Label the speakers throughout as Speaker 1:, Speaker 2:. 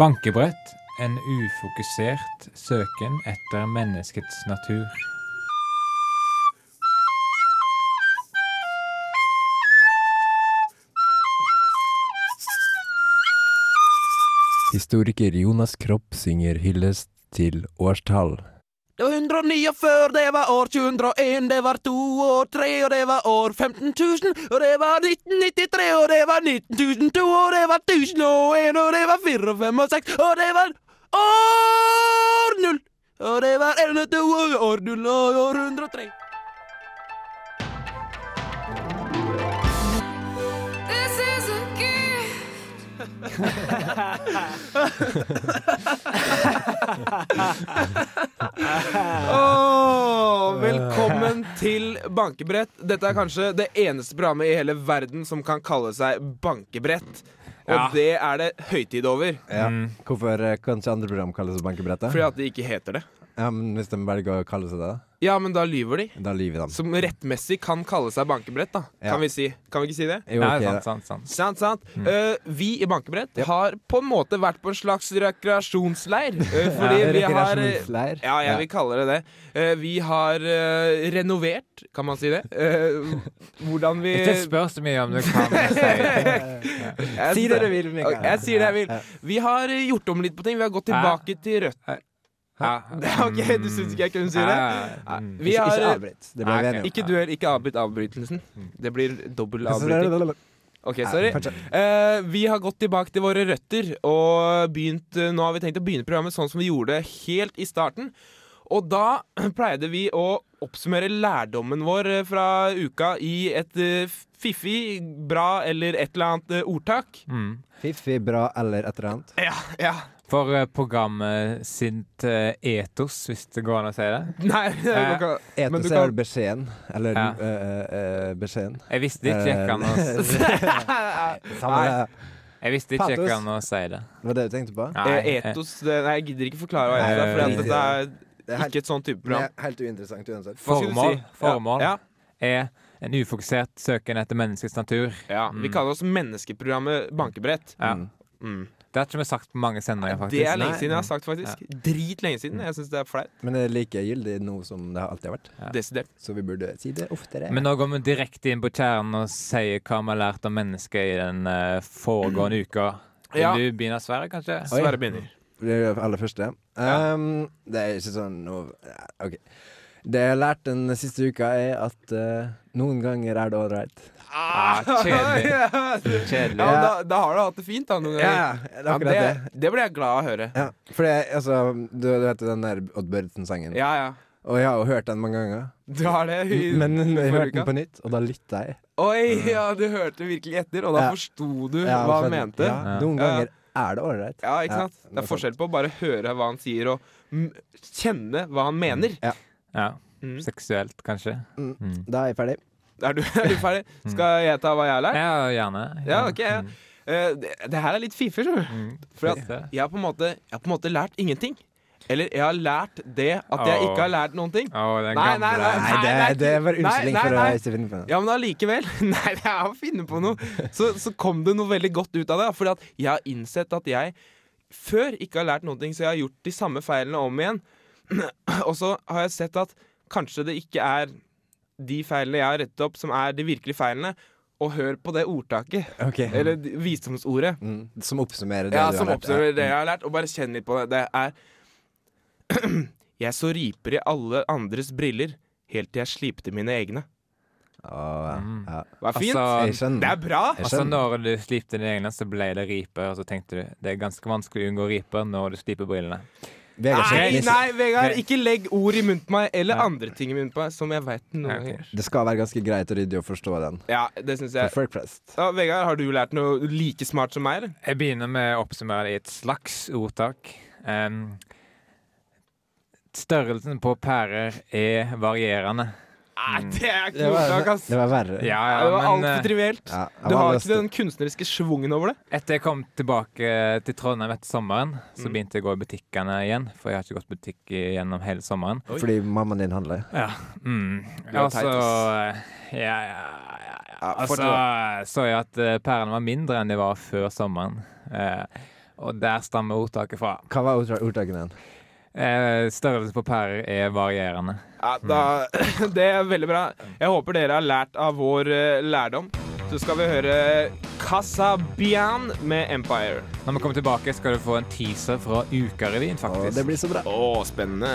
Speaker 1: Bankebrett en ufokusert søken etter menneskets natur.
Speaker 2: Historiker Jonas Kropp synger hyllest til årstall.
Speaker 3: Det var 109 og før, det var år 201, det var to og tre, og det var år 15 000, og det var 1993, og det var 1902, og det var 1001, og det var 4 og 5 og 6, og det var år null! Og det var 1102 og år null og år 103.
Speaker 4: This is a gift.
Speaker 3: Åh, velkommen til Bankebrett. Dette er kanskje det eneste programmet i hele verden som kan kalle seg Bankebrett. Og
Speaker 1: Ja.
Speaker 3: det er det høytid over,
Speaker 2: Ja.
Speaker 1: Mm.
Speaker 2: Hvorfor eh, kan ikke andre program kalles bankebrettet?
Speaker 3: fordi at de ikke heter det.
Speaker 2: Ja, men hvis de velger å kalle seg det,
Speaker 3: Ja, men da lyver de.
Speaker 2: da lyver de.
Speaker 3: Som rettmessig kan kalle seg bankebrett, da.
Speaker 2: Ja. Mm.
Speaker 3: Kan vi si. Kan vi ikke si det?
Speaker 2: Jo,
Speaker 1: Nei,
Speaker 2: ok, da.
Speaker 1: sant, sant, sant.
Speaker 3: Sant, sant. Eh, vi i Bankebrett har på en måte vært på en slags rekreasjonsleir. eh, fordi vi har
Speaker 2: Rekreasjonsleir.
Speaker 3: ja, jeg vil kalle det det. Eh, vi har eh, renovert, kan man si det? Eh, hvordan vi
Speaker 1: Dette spørs mye om du kan si.
Speaker 3: Jeg-
Speaker 2: Si det du vil, Mikael.
Speaker 3: Ok, Jeg sier det jeg vil. Vi har eh, gjort om litt på ting. Vi har gått
Speaker 1: Hæ?
Speaker 3: tilbake til rødt.
Speaker 1: Ja.
Speaker 3: OK, du syns ikke jeg kunne si
Speaker 1: Ja,
Speaker 3: det?
Speaker 1: ja, ja. Mm.
Speaker 3: Vi
Speaker 2: Ikke, ikke
Speaker 3: har
Speaker 2: avbryt. Det Mm. ble
Speaker 1: Nei, ok.
Speaker 2: vi enige om.
Speaker 3: Ikke duell, ikke avbryt avbrytelsen. Det blir dobbel avbryting.
Speaker 2: Sorry.
Speaker 3: OK, sorry. Eh, vi har gått tilbake til våre røtter, og begynt, eh, nå har vi tenkt å begynne programmet sånn som vi gjorde det helt i starten. Og da pleide vi å oppsummere lærdommen vår eh, fra uka i et eh, fiffig, bra eller et eller annet eh, ordtak.
Speaker 1: Mm.
Speaker 2: Fiffi, bra eller et eller annet.
Speaker 3: Ja, ja.
Speaker 1: For eh, programmet sitt eh, etos, hvis det går an å si det.
Speaker 3: Nei, det går ikke an. Men
Speaker 2: Etos
Speaker 3: du
Speaker 2: er
Speaker 3: kan-
Speaker 2: vel beskjeden. Eller
Speaker 1: Ja.
Speaker 2: eh, eh, beskjeden.
Speaker 1: Jeg visste ikke jeg kan å,
Speaker 3: Eh.
Speaker 2: Samme
Speaker 3: Nei.
Speaker 2: det.
Speaker 1: jeg visste ikke jeg
Speaker 2: Patos.
Speaker 1: kan å si det.
Speaker 3: E-
Speaker 2: Det var det du tenkte på?
Speaker 1: Nei, e-
Speaker 3: Eh, Etos det, Nei, jeg gidder ikke forklare hva etos er, for
Speaker 1: Nei,
Speaker 3: dette er
Speaker 2: Det er helt,
Speaker 3: ikke et sånn type
Speaker 2: det
Speaker 3: program.
Speaker 2: er helt uinteressant uansett.
Speaker 3: Hva skulle du
Speaker 1: Formål.
Speaker 3: si?
Speaker 1: Formål.
Speaker 3: Ja,
Speaker 1: eh, er en ufokusert søken etter menneskets natur.
Speaker 3: ja, ja. Vi kaller oss Menneskeprogrammet Bankebrett.
Speaker 1: Ja.
Speaker 2: Mm.
Speaker 3: Mm.
Speaker 1: Det har ikke vi sagt på mange sendinger,
Speaker 3: Det
Speaker 1: faktisk.
Speaker 3: er lenge
Speaker 2: Nei.
Speaker 3: siden jeg har sagt, faktisk. Drit lenge siden. Jeg syns det er flaut.
Speaker 2: Men det er like gyldig nå som det har alltid har vært.
Speaker 1: Ja.
Speaker 3: Desidert.
Speaker 2: Så vi burde si det oftere.
Speaker 1: Men nå går vi direkte inn på kjernen og sier hva vi har lært om mennesket i den eh, foregående uka. Vil
Speaker 3: Ja.
Speaker 1: du begynne, Sverre, kanskje?
Speaker 2: Oi.
Speaker 3: Sverre begynner.
Speaker 2: Det er det aller første. Ehm, det er ikke sånn noe ja, OK. Det jeg har lært den siste uka, er at eh, noen ganger er det ålreit.
Speaker 1: Ah, kjedelig.
Speaker 3: Ja,
Speaker 1: Kjedelig.
Speaker 3: men da, da har du hatt det fint, da. Noen ganger.
Speaker 2: det er
Speaker 3: Ja,
Speaker 2: akkurat
Speaker 3: det,
Speaker 2: det.
Speaker 3: det ble jeg glad av å høre.
Speaker 2: Ja, for det, altså, du, du vet jo den der Odd Børretzen-sangen.
Speaker 3: Ja, ja.
Speaker 2: Og jeg har jo hørt den mange ganger.
Speaker 3: Du har det i
Speaker 2: Men
Speaker 3: forrige
Speaker 2: jeg hørte
Speaker 3: uka?
Speaker 2: den på nytt, og da lytta jeg.
Speaker 3: Oi, ja, du hørte virkelig etter, og da
Speaker 2: Ja.
Speaker 3: forsto du
Speaker 2: Ja,
Speaker 3: hva
Speaker 2: for-
Speaker 3: han mente. Ja.
Speaker 2: Ja, noen
Speaker 3: Ja.
Speaker 2: ganger er det ålreit.
Speaker 3: ikke sant?
Speaker 2: Ja,
Speaker 3: Det er forskjell på å bare høre hva han sier, og mm, kjenne hva han mener.
Speaker 1: Ja.
Speaker 3: Mm.
Speaker 1: Seksuelt, kanskje.
Speaker 2: Mm.
Speaker 1: Mm.
Speaker 2: Da er jeg ferdig.
Speaker 3: Er du, er du ferdig? Skal jeg ta hva jeg har lært?
Speaker 1: Ja, gjerne.
Speaker 3: Ja, ok. ja. Eh, det, det her er litt fiffig, skjønner du.
Speaker 1: Mm.
Speaker 3: For at-
Speaker 1: Fint, det.
Speaker 3: Jeg har på en måte, jeg har på en måte lært ingenting. Eller jeg har lært det at jeg
Speaker 1: Åh.
Speaker 3: ikke har lært noen ting.
Speaker 1: Å, den
Speaker 3: Nei,
Speaker 1: gamle
Speaker 3: nei,
Speaker 2: Nei, det,
Speaker 3: nei,
Speaker 2: det var
Speaker 3: nei,
Speaker 2: unnskyldning
Speaker 3: nei,
Speaker 2: for å
Speaker 3: nei.
Speaker 2: ikke finne på det.
Speaker 3: Ja, men allikevel. Nei, det er å finne på noe. Så, så kom det noe veldig godt ut av det. For jeg har innsett at jeg før ikke har lært noen ting, så jeg har gjort de samme feilene om igjen. Og så har jeg sett at kanskje det ikke er de feilene jeg har rettet opp, som er de virkelige feilene. Og hør på det ordtaket,
Speaker 2: Ok.
Speaker 3: eller de- visdomsordet.
Speaker 2: Mm, som oppsummerer det
Speaker 3: Ja,
Speaker 2: du
Speaker 3: som
Speaker 2: har lært.
Speaker 3: oppsummerer det jeg har lært, og bare kjenn litt på det. Det er Jeg så riper i alle andres briller helt til jeg slipte mine egne.
Speaker 2: Å,
Speaker 1: Mm.
Speaker 2: ja.
Speaker 3: Det var fint.
Speaker 1: Altså,
Speaker 2: Jeg skjønner.
Speaker 3: det er bra!
Speaker 2: Jeg
Speaker 1: Altså
Speaker 2: skjønner.
Speaker 1: Når du slipte dine egne, så ble det riper. Og så tenkte du det er ganske vanskelig å unngå riper når du sliper brillene.
Speaker 2: Vegard
Speaker 3: Nei,
Speaker 2: Kjepnis,
Speaker 3: nei, Vegard,
Speaker 1: Nei.
Speaker 3: ikke legg ord i munnen på meg, eller
Speaker 1: Ja.
Speaker 3: andre ting i munnen på meg, som jeg veit noe
Speaker 1: Ja, ok.
Speaker 3: gjør.
Speaker 2: det skal være ganske greit og ryddig å forstå den.
Speaker 3: Ja, det syns
Speaker 2: For
Speaker 3: jeg.
Speaker 2: folk flest.
Speaker 3: Ja, Vegard, har du lært noe like smart som meg, eller?
Speaker 1: Jeg begynner med å oppsummere det i et slags ordtak. Em, størrelsen på pærer er varierende.
Speaker 3: Nei, det er ikke
Speaker 2: Det
Speaker 3: noe
Speaker 2: var,
Speaker 3: ordtak, ass.
Speaker 2: det var
Speaker 1: Ja,
Speaker 2: verre.
Speaker 3: Ja,
Speaker 1: ja,
Speaker 3: det var
Speaker 1: men
Speaker 3: altfor
Speaker 1: eh,
Speaker 3: trivielt.
Speaker 2: Ja, jeg
Speaker 3: Du
Speaker 2: var
Speaker 3: har
Speaker 2: lyst
Speaker 3: ikke den kunstneriske schwungen over det?
Speaker 1: etter jeg kom tilbake til Trondheim etter sommeren, så begynte jeg å gå i butikkene igjen. For jeg har ikke gått butikk i- gjennom hele sommeren.
Speaker 2: til- Fordi mammaen din handler.
Speaker 1: Ja, mm.
Speaker 3: Det var teit,
Speaker 1: Altså eh, Ja, ja, ja. ja.
Speaker 3: Ja,
Speaker 1: Altså
Speaker 3: fortell,
Speaker 1: så jeg at eh, pærene var mindre enn de var før sommeren. Eh, Og der stammer ordtaket fra.
Speaker 2: Hva var ordtak- ordtaket igjen?
Speaker 1: Eh, størrelsen på pærer er varierende.
Speaker 3: Ja, da, det er veldig bra. Jeg håper dere har lært av vår eh, lærdom. Så skal vi høre Casabian med Empire.
Speaker 1: Når vi kommer tilbake, skal du få en teaser fra Ukarevyen,
Speaker 2: Å,
Speaker 1: faktisk.
Speaker 2: det blir så bra.
Speaker 3: Å, spennende.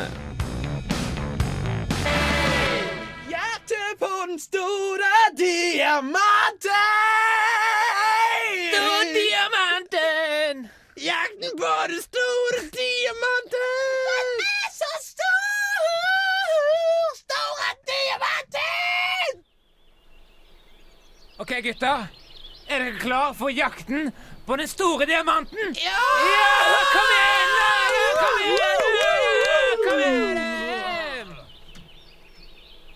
Speaker 3: Hjertet på den store diamanten!
Speaker 1: diamanten!
Speaker 3: Jakten på den store diamanten! Den er så stor! Store diamanten!
Speaker 1: OK, gutter. Er dere klar for jakten på den store diamanten? Ja! kom igjen! da! Kom igjen! da! Kom igjen!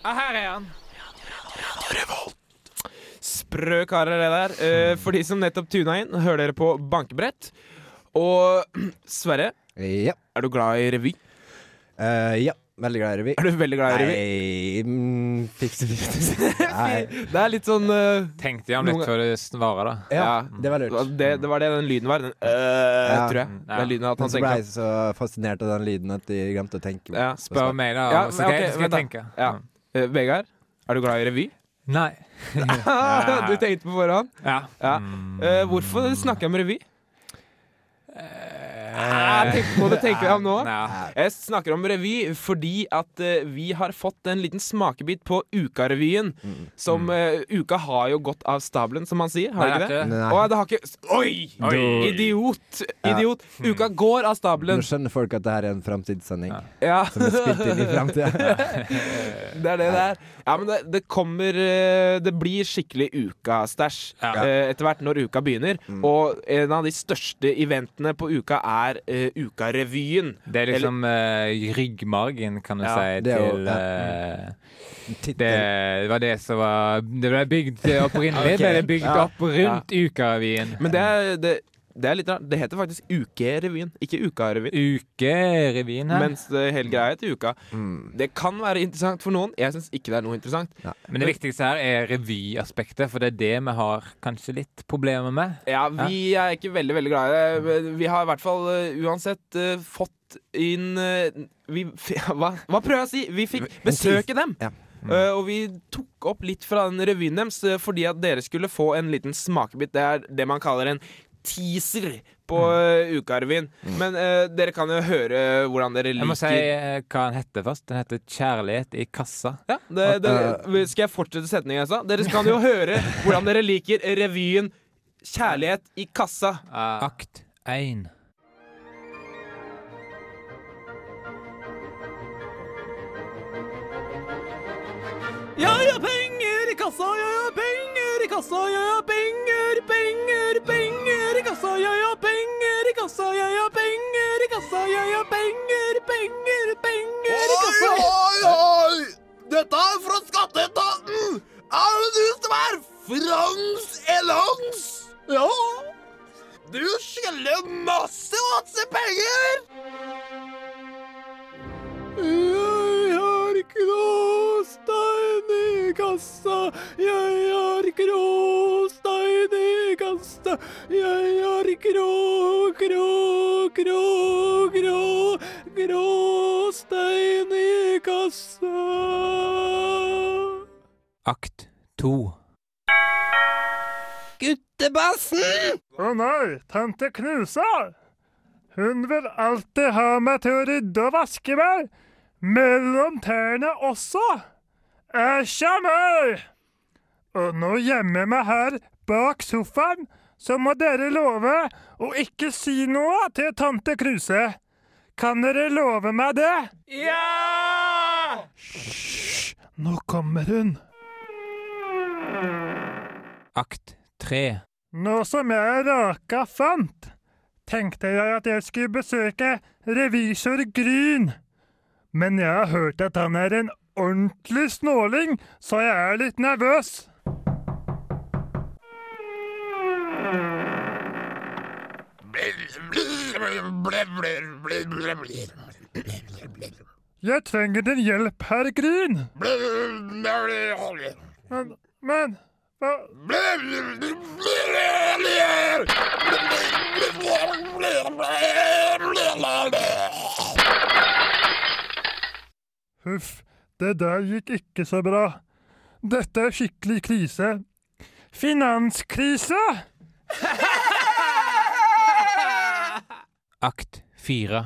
Speaker 1: Ja, her er han.
Speaker 3: Sprø karer, det der. Eh, For de som nettopp tuna inn, hører dere på bankebrett. Og Sverre,
Speaker 2: Ja.
Speaker 3: er du glad i revy?
Speaker 2: Eh, ja. Veldig glad i revy.
Speaker 3: Er du veldig glad i revy?
Speaker 2: Nei mm, Fikse-fikse. Nei.
Speaker 3: Det er litt sånn eh,
Speaker 1: Tenkte jeg om litt
Speaker 3: Noen-
Speaker 1: før du svarer, da.
Speaker 2: Ja, det var lurt.
Speaker 3: Altså, Det, det var det den lyden var. Den, øh, tror jeg.
Speaker 1: Ja.
Speaker 3: Den lyden at
Speaker 2: Men
Speaker 3: han
Speaker 2: så ble
Speaker 3: tenker sånn,
Speaker 2: jeg så fascinert av den lyden at jeg glemte å tenke.
Speaker 3: Ja.
Speaker 1: Spør meg, da.
Speaker 3: Ja,
Speaker 1: så
Speaker 3: men
Speaker 1: skal jeg-
Speaker 3: ok,
Speaker 1: så skal jeg
Speaker 3: vent
Speaker 1: tenke.
Speaker 3: Ja. Eh, Vegard, er du glad i revy?
Speaker 1: Nei.
Speaker 3: du tenkte på forhånd?
Speaker 1: Ja. Mm.
Speaker 3: Ja. Eh, hvorfor snakker jeg om revy? Ah, tenk på det, tenker jeg om nå.
Speaker 1: Eh. Nei.
Speaker 3: Jeg snakker om revy fordi at eh, vi har fått en liten smakebit på Ukarevyen.
Speaker 2: Mm.
Speaker 3: Som eh, Uka har jo gått av stabelen, som man sier. Har
Speaker 1: Mm. Nei, det er ikke
Speaker 2: det.
Speaker 3: det ikke det? Å, det har ikke Oi!
Speaker 1: Oi.
Speaker 3: Idiot! Idiot! Uka
Speaker 2: Mm.
Speaker 3: går av
Speaker 2: Nå
Speaker 3: stabelen.
Speaker 2: skjønner folk at det her er en framtidssending.
Speaker 3: Ja.
Speaker 2: Som er spilt inn i framtida.
Speaker 3: Det er det det er. Ja, men det, det kommer eh, Det blir skikkelig ukastæsj
Speaker 1: Ja.
Speaker 3: eh, etter hvert når uka begynner. Og en av de største eventene på uka er eh, Ukarevyen.
Speaker 1: Det er liksom eh, ryggmargen, kan du
Speaker 3: Ja, Mm.
Speaker 1: si,
Speaker 2: det er jo-
Speaker 1: til
Speaker 2: ja.
Speaker 1: eh,
Speaker 2: Tittel.
Speaker 1: Det var det som var Det ble bygd opprinnelig.
Speaker 2: Ok.
Speaker 1: Ble det bygd
Speaker 3: Ja.
Speaker 1: opp rundt Ukarevyen.
Speaker 3: Men det er, det, det er litt rart. Det heter faktisk Ukerevyen, ikke Ukarevyen.
Speaker 1: Ukerevyen her. Men,
Speaker 3: Mens det hele greia heter Uka.
Speaker 2: Mm.
Speaker 3: Det kan være interessant for noen. Jeg syns ikke det er noe interessant.
Speaker 1: det viktigste her er revyaspektet, for det er det vi har kanskje litt problemer med.
Speaker 3: Ja, vi er ikke veldig, veldig glad i det. men Vi har i hvert fall eh, uansett eh, fått inn eh, vi, f- hva, hva prøver jeg å si? Vi fikk besøke dem!
Speaker 2: Ja.
Speaker 3: Eh, og vi tok opp litt fra den revyen deres eh, fordi at dere skulle få en liten smakebit. Det er det man kaller en teaser på eh, Ukarevyen. Men eh, dere kan jo høre hvordan dere
Speaker 1: Jeg må
Speaker 3: liker
Speaker 1: si eh, hva den heter først. Den heter 'Kjærlighet i kassa'.
Speaker 3: ja, det, det, Skal jeg fortsette setningen jeg sa? Dere kan jo høre hvordan dere liker revyen 'Kjærlighet i kassa'.
Speaker 1: Akt 1.
Speaker 3: Jeg har penger i kassa, jeg har penger i kassa, jeg har penger, penger, penger i kassa, jeg har penger i kassa, jeg har penger i kassa, jeg har penger, penger, penger i kassa.
Speaker 5: Oi, oi! Dette er fra skatteetaten! Er det du som er Frans Elans? Ja? Du skylder masse, masse penger! Jeg har gråstein i kassa, jeg har gråstein i kassa, jeg har grå, grå, grå, grå, gråstein i kassa.
Speaker 1: Akt 2.
Speaker 6: Å nei, tante Knusa! Hun vil alltid ha meg til å rydde og vaske meg! Mellom tærne også! Æsja meg! Og nå gjemmer jeg meg her bak sofaen, så må dere love å ikke si noe til tante Kruse. Kan dere love meg det? Ja! Hysj, nå kommer hun.
Speaker 1: Akt 3.
Speaker 6: Nå som jeg raka fant, tenkte jeg at jeg skulle besøke revisor Gryn. Men jeg har hørt at han er en ordentlig snåling, så jeg er litt nervøs. Jeg trenger din hjelp, herr Gryn. Men, men Hva? Huff, det der gikk ikke så bra. Dette er skikkelig krise. Finanskrise!
Speaker 7: Akt fire.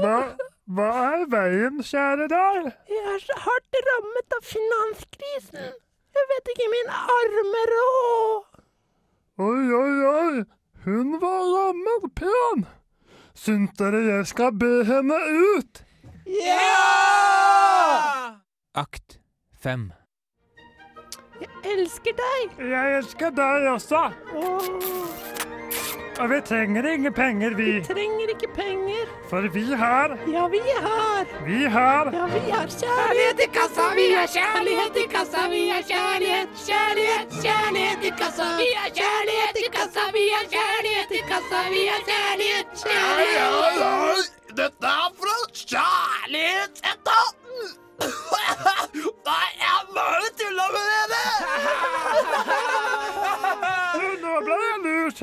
Speaker 6: Hva, hva er veien, kjære deg?
Speaker 4: Jeg er så hardt rammet av finanskrisen. Jeg vet ikke mine armer og
Speaker 6: Oi, oi, oi! Hun var jammen pen! Syns dere jeg skal be henne ut?
Speaker 7: Akt fem.
Speaker 4: elsker deg.
Speaker 6: Jeg elsker deg også!
Speaker 4: Åh,
Speaker 6: Og vi trenger ingen penger, vi.
Speaker 4: trenger ikke penger.
Speaker 6: For vi her,
Speaker 4: Ja, vi har.
Speaker 6: vi her
Speaker 4: Ja, vi har kjærlighet i kassa. Vi har kjærlighet i kassa. Vi har kjærlighet, kjærlighet, kjærlighet i kassa. Vi har kjærlighet i kassa. Vi har kjærlighet i kassa. Vi har kjærlighet, kjærlighet.
Speaker 8: Oi, oi, Dette er fra Kjærlighetsetaten! Nei, jeg bare tulla med dere!
Speaker 6: Nå ble jeg lurt!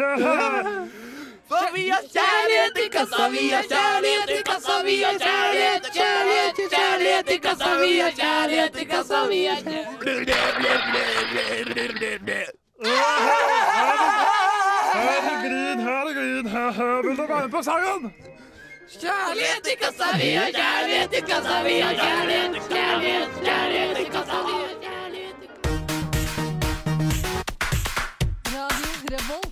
Speaker 8: For vi har
Speaker 4: Kjærlighet i kassa, vi har kjærlighet i kassa, vi har kjærlighet, kjærlighet, kjærlighet i kassa, vi har kjærlighet i kassa, vi er har kjærlighet
Speaker 8: kjærlighet
Speaker 6: Herregrin, herregrin, herre, vil du være med på sangen?
Speaker 4: i kassa, vi har kjærlighet i kassa, vi har kjærlighet, kjærlighet, kjærlighet i kassa, vi er har kjærlighet i kassa.
Speaker 9: Radio Revolt.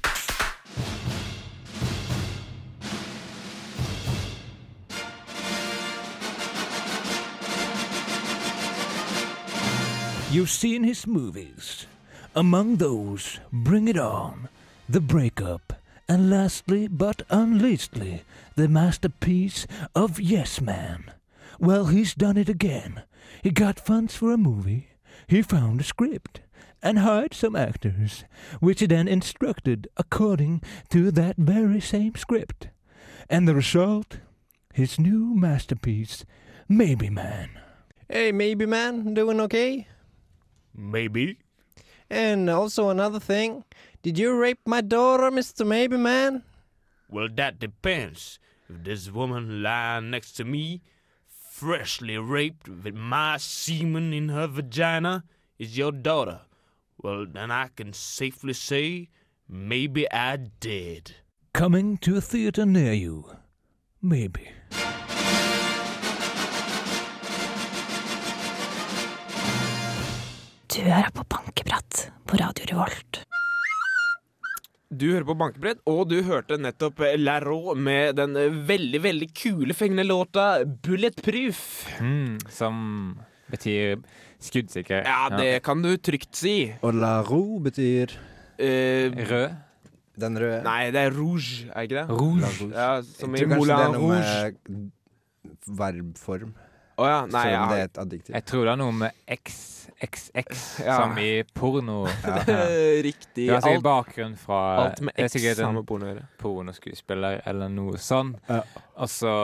Speaker 10: You've seen his movies. Among those, Bring It On, The Breakup, and lastly but unleastly, the masterpiece of Yes Man. Well, he's done it again. He got funds for a movie, he found a script, and hired some actors, which he then instructed according to that very same script. And the result? His new masterpiece, Maybe Man.
Speaker 2: Hey, maybe man, doing okay?
Speaker 10: Maybe?
Speaker 2: And also another thing, did you rape my daughter, Mr. Maybe man?
Speaker 11: Well, that depends. If this woman lying next to me, freshly raped with my semen in her vagina, is your daughter, well, then I can safely say maybe I did.
Speaker 10: coming to a theater near you. Maybe.
Speaker 12: Du hører på Bankeprat på Radio Revolt.
Speaker 3: Du hører på Bankebrett, og du hørte nettopp Larro med den eh, veldig, veldig kule fengende låta Bulletproof.
Speaker 7: Mm, som betyr skuddsikker.
Speaker 3: Ja, det kan du trygt si.
Speaker 2: Og la ro betyr
Speaker 3: Eh,
Speaker 7: Rød.
Speaker 2: den røde.
Speaker 3: nei, det er rouge, er ikke det?
Speaker 7: Rouge.
Speaker 3: Ja, som i
Speaker 2: Jeg tror kanskje det er
Speaker 3: Moulin
Speaker 2: noe
Speaker 3: Rouge.
Speaker 2: med verbform,
Speaker 3: Å ja, nei,
Speaker 2: selv om det
Speaker 3: ja.
Speaker 2: er et adjektiv.
Speaker 7: Jeg tror det er noe med XXX,
Speaker 3: Ja.
Speaker 7: som i porno. Ja.
Speaker 3: Eh,
Speaker 7: Det
Speaker 3: Riktig.
Speaker 7: er sikkert
Speaker 3: Alt,
Speaker 7: bakgrunn fra
Speaker 3: alt med
Speaker 7: det er
Speaker 3: X
Speaker 7: sikkert
Speaker 3: har
Speaker 7: en
Speaker 3: med porno å gjøre.
Speaker 7: pornoskuespiller eller noe sånn.
Speaker 2: Ja.
Speaker 7: Og så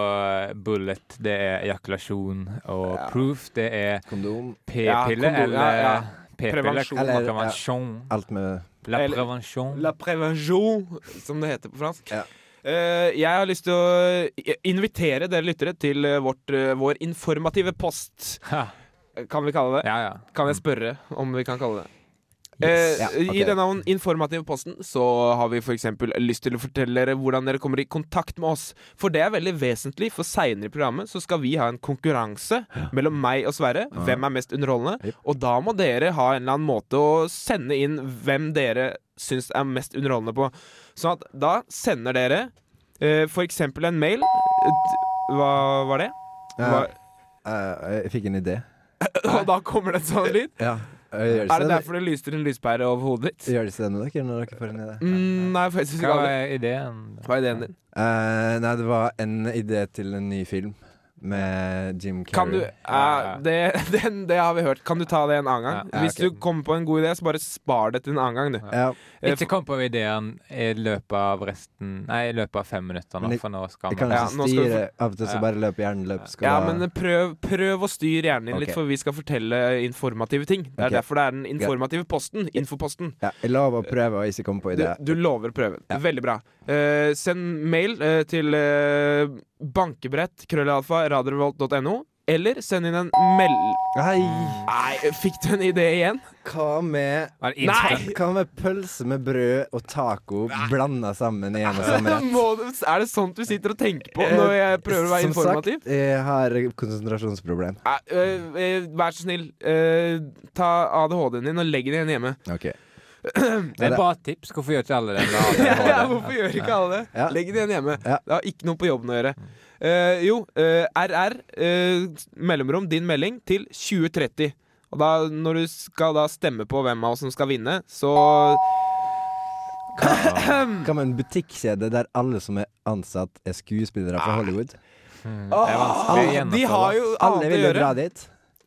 Speaker 7: eh, bullet, det er ejakulasjon. Og proof, det er
Speaker 2: Kondom.
Speaker 3: Ja,
Speaker 7: p-pille
Speaker 3: kondom,
Speaker 7: eller
Speaker 3: ja, ja.
Speaker 7: p-pille.
Speaker 3: Prevensjon.
Speaker 7: Eller
Speaker 2: Eller, ja.
Speaker 7: prevensjon.
Speaker 2: Alt med
Speaker 7: La
Speaker 3: Eller-
Speaker 7: prevensjon.
Speaker 3: La prévention, som det heter på fransk.
Speaker 2: Ja.
Speaker 3: Eh, jeg har lyst til å eh, invitere dere lyttere til eh, vårt, eh, vår informative post.
Speaker 7: Ha.
Speaker 3: Kan vi kalle det?
Speaker 7: Ja, ja.
Speaker 3: Kan jeg spørre om vi kan kalle det?
Speaker 2: Yes.
Speaker 3: Eh,
Speaker 2: Ja,
Speaker 3: I
Speaker 2: ok.
Speaker 3: denne informative posten så har vi f.eks. lyst til å fortelle dere hvordan dere kommer i kontakt med oss. For det er veldig vesentlig, for seinere i programmet så skal vi ha en konkurranse mellom meg og Sverre. Hvem er mest underholdende? Og da må dere ha en eller annen måte å sende inn hvem dere syns er mest underholdende på. Sånn at da sender dere eh, f.eks. en mail Eh, Hva var det? Hva,
Speaker 2: Ja, eh, jeg fikk en idé.
Speaker 3: og da kommer det en sånn lyd.
Speaker 2: Ja. Gjør
Speaker 3: Er det
Speaker 2: det sånn
Speaker 3: derfor det lyser en lyspære over hodet ditt?
Speaker 2: Gjør det seg med dere når dere får en idé?
Speaker 3: Mm, nei, faktisk ikke.
Speaker 7: Hva
Speaker 3: aldri.
Speaker 7: er ideen?
Speaker 3: Hva er ideen din?
Speaker 2: Eh, nei, det var en idé til en ny film. med Jim Carrey.
Speaker 3: Kan du, ja, det, den, det har vi hørt. Kan du ta det en annen gang?
Speaker 2: Ja,
Speaker 3: Hvis
Speaker 2: ok.
Speaker 3: du kommer på en god idé, så bare spar det til en annen gang, du.
Speaker 2: Ja.
Speaker 3: Eh,
Speaker 7: Ikke kom på ideen i løpet av resten Nei, i løpet av fem minutter nå,
Speaker 2: Men jeg-
Speaker 7: for nå skal
Speaker 2: Jeg kan
Speaker 7: vi
Speaker 3: Ja,
Speaker 2: ikke
Speaker 3: nå skal vi
Speaker 2: styre Av og til
Speaker 7: Ja.
Speaker 2: så bare løper hjernen løp. Skal
Speaker 3: Ja,
Speaker 2: da-
Speaker 3: men prøv, prøv å styre hjernen din
Speaker 2: Ok.
Speaker 3: litt, for vi skal fortelle informative ting. Det
Speaker 2: Ok.
Speaker 3: er derfor det er den informative posten. Infoposten.
Speaker 2: ja, jeg lover å prøve å ikke komme på
Speaker 3: Du,
Speaker 2: ideer.
Speaker 3: du lover å prøve. Veldig bra. Eh, send mail eh, til eh, bankebrett, krøllalfa, radiorevolt.no, eller send inn en meld...
Speaker 2: Hei,
Speaker 3: Nei, fikk du en idé igjen?
Speaker 2: hva med
Speaker 3: Nei!
Speaker 2: Hva med pølse med brød og taco blanda sammen i en og samme rett? Eh,
Speaker 3: Må du, er det sånt du sitter og tenker på når jeg prøver å være
Speaker 2: Som
Speaker 3: informativ?
Speaker 2: sagt, jeg har konsentrasjonsproblem.
Speaker 3: Nei, øh, øh, vær så snill, øh, ta ADHD-en din og legg den igjen hjemme.
Speaker 2: Ok.
Speaker 7: Det er et bra tips. Hvorfor gjør ikke alle det? med ADHD?
Speaker 3: Ja, hvorfor gjør ikke alle det?
Speaker 2: Ja.
Speaker 3: Legg den igjen hjemme.
Speaker 2: Ja.
Speaker 3: Det har ikke noe på jobben å gjøre. Eh, jo, eh, RR, eh, mellomrom, din melding, til 2030. Og da, når du skal da stemme på hvem av oss som skal vinne, så
Speaker 2: Hva med en butikkjede der alle som er ansatt, er skuespillere fra Hollywood?
Speaker 7: Det er vanskelig å
Speaker 3: Åh, De
Speaker 7: gjennomføre.
Speaker 3: har jo
Speaker 2: Alle
Speaker 3: annet å
Speaker 2: vil jo
Speaker 3: gjøre.
Speaker 2: dra dit.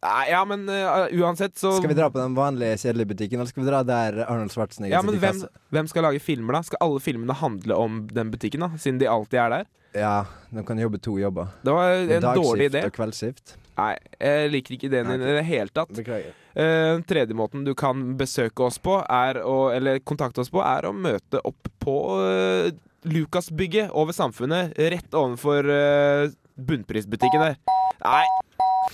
Speaker 3: Nei, ja, men eh, uansett, så
Speaker 2: Skal vi dra på den vanlige, kjedelige butikken, eller skal vi dra der Arnold Schwarzenegger
Speaker 3: ja, men
Speaker 2: sitter i
Speaker 3: hvem,
Speaker 2: kassa?
Speaker 3: hvem skal lage filmer, da? Skal alle filmene handle om den butikken, da? Siden de alltid er der?
Speaker 2: Ja, de kan jobbe to jobber.
Speaker 3: Det var en dårlig idé.
Speaker 2: og kveldsskift.
Speaker 3: Nei, jeg liker ikke ideen din
Speaker 2: Nei,
Speaker 3: i det hele tatt.
Speaker 2: Beklager.
Speaker 3: Eh, tredje måten du kan besøke oss på, er å, eller kontakte oss på, er å møte opp på eh, Lukasbygget over Samfunnet, rett ovenfor eh, bunnprisbutikken der. Nei,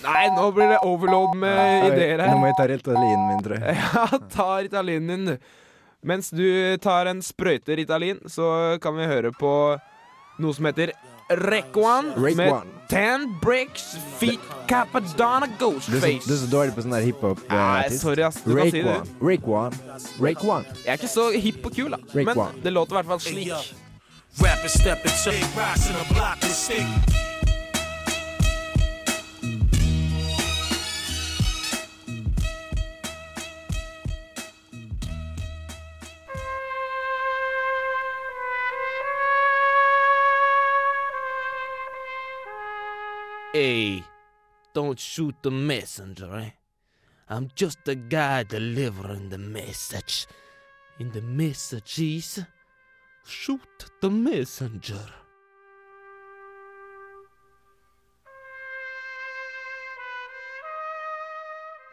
Speaker 3: nei, nå blir det overload med ideer
Speaker 2: Nå
Speaker 3: Eh, her.
Speaker 2: må jeg ta Ritalin min, tror jeg.
Speaker 3: Ja, ta Ritalinen din, du. Mens du tar en sprøyte Ritalin, så kan vi høre på noe som heter Rekwan
Speaker 2: Rake
Speaker 3: med
Speaker 2: One.
Speaker 3: Ten Bricks Feet Capadonna
Speaker 2: Du er, så, du er
Speaker 3: Ghostface.
Speaker 2: så dårlig på sånn der
Speaker 3: Nei,
Speaker 2: hiphop-artist.
Speaker 3: sorry, ass. Du kan si
Speaker 2: Rake
Speaker 3: det.
Speaker 2: one, rake one, rake one.
Speaker 3: Jeg er ikke så hipp og kul, da.
Speaker 2: Rick
Speaker 3: Men
Speaker 2: Warren.
Speaker 3: det låter i hvert fall slik.
Speaker 13: Rapid step and take rocks in a block and stick.
Speaker 11: Hey, don't shoot the messenger, eh? I'm just a guy delivering the message. And the message is shoot the messenger.